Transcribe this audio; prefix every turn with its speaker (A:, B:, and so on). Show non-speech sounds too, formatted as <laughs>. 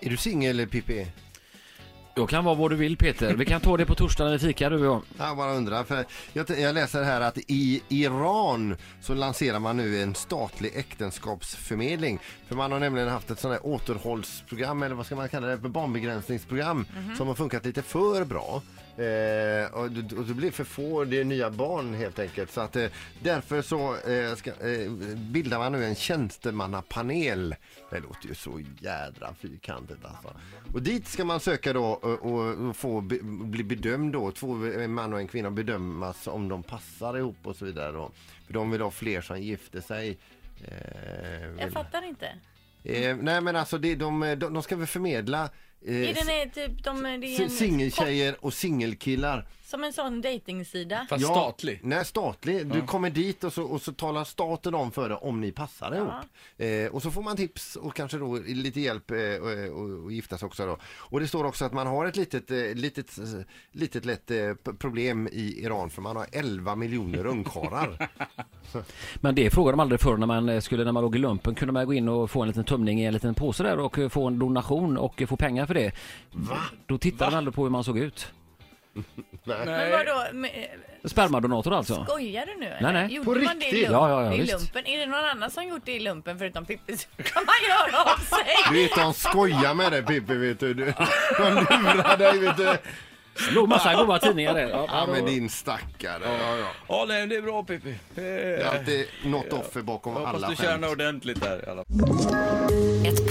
A: Är du singel Pippi?
B: Jag kan vara vad du vill Peter. Vi kan ta det på torsdag när vi fikar du och jag.
A: Jag bara undrar, för jag, t- jag läser här att i Iran så lanserar man nu en statlig äktenskapsförmedling. För man har nämligen haft ett sånt här återhållsprogram, eller vad ska man kalla det, barnbegränsningsprogram som har funkat lite för bra. Eh, och, d- och det blir för få, det är nya barn helt enkelt. Så att, eh, därför så eh, ska, eh, bildar man nu en tjänstemannapanel. Det låter ju så jädra fyrkantigt alltså. Och dit ska man söka då och, och och få be, bli bedömd då. Två, en man och en kvinna bedömas om de passar ihop och så vidare då. För de vill ha fler som gifter sig. Eh,
C: Jag
A: vill,
C: fattar inte.
A: eh, nej men alltså det, de, de, de ska väl förmedla
C: Är
A: eh,
C: den är typ de, det är en,
A: s- singeltjejer och singelkillar.
C: Som en sån dejtingsida.
D: Fast statlig.
A: Nej, statlig. Du kommer dit och så, och så talar staten om för dig om ni passar ihop. Eh, och så får man tips och kanske då lite hjälp eh, och, och, och giftas också då. Och det står också att man har ett litet, eh, litet, eh, litet lätt eh, p- problem i Iran för man har 11 miljoner
D: <laughs>
A: ungkarlar.
B: Men det frågade de aldrig förr när man eh, skulle, när man låg i lumpen kunde man gå in och få en liten tömning i en liten påse där och eh, få en donation och eh, få pengar för det. Va? Då tittade de aldrig på hur man såg ut.
C: Men
D: Nej.
C: vadå, men,
B: Spermadonator alltså.
C: skojar du nu
B: Nej, nej.
C: Gjorde
A: På
C: man det i,
A: riktigt?
C: lump-
B: Ja, ja, ja,
C: i
B: visst.
C: lumpen? Är det någon annan som gjort det i lumpen förutom Pippi <laughs> så kan man göra
B: <laughs>
C: av sig.
A: Du vet de skojar med dig Pippi vet du. Du- De lurar dig vet du.
B: Låg massa goda tidningar där.
A: Ja men din stackare. Ja, ja.
D: Ja, nej, det är bra Pippi. Eh,
A: Det är alltid något offer bakom
D: Hoppas
A: alla
D: du tjänar
A: skämt.
D: ordentligt där i alla fall.
E: Ett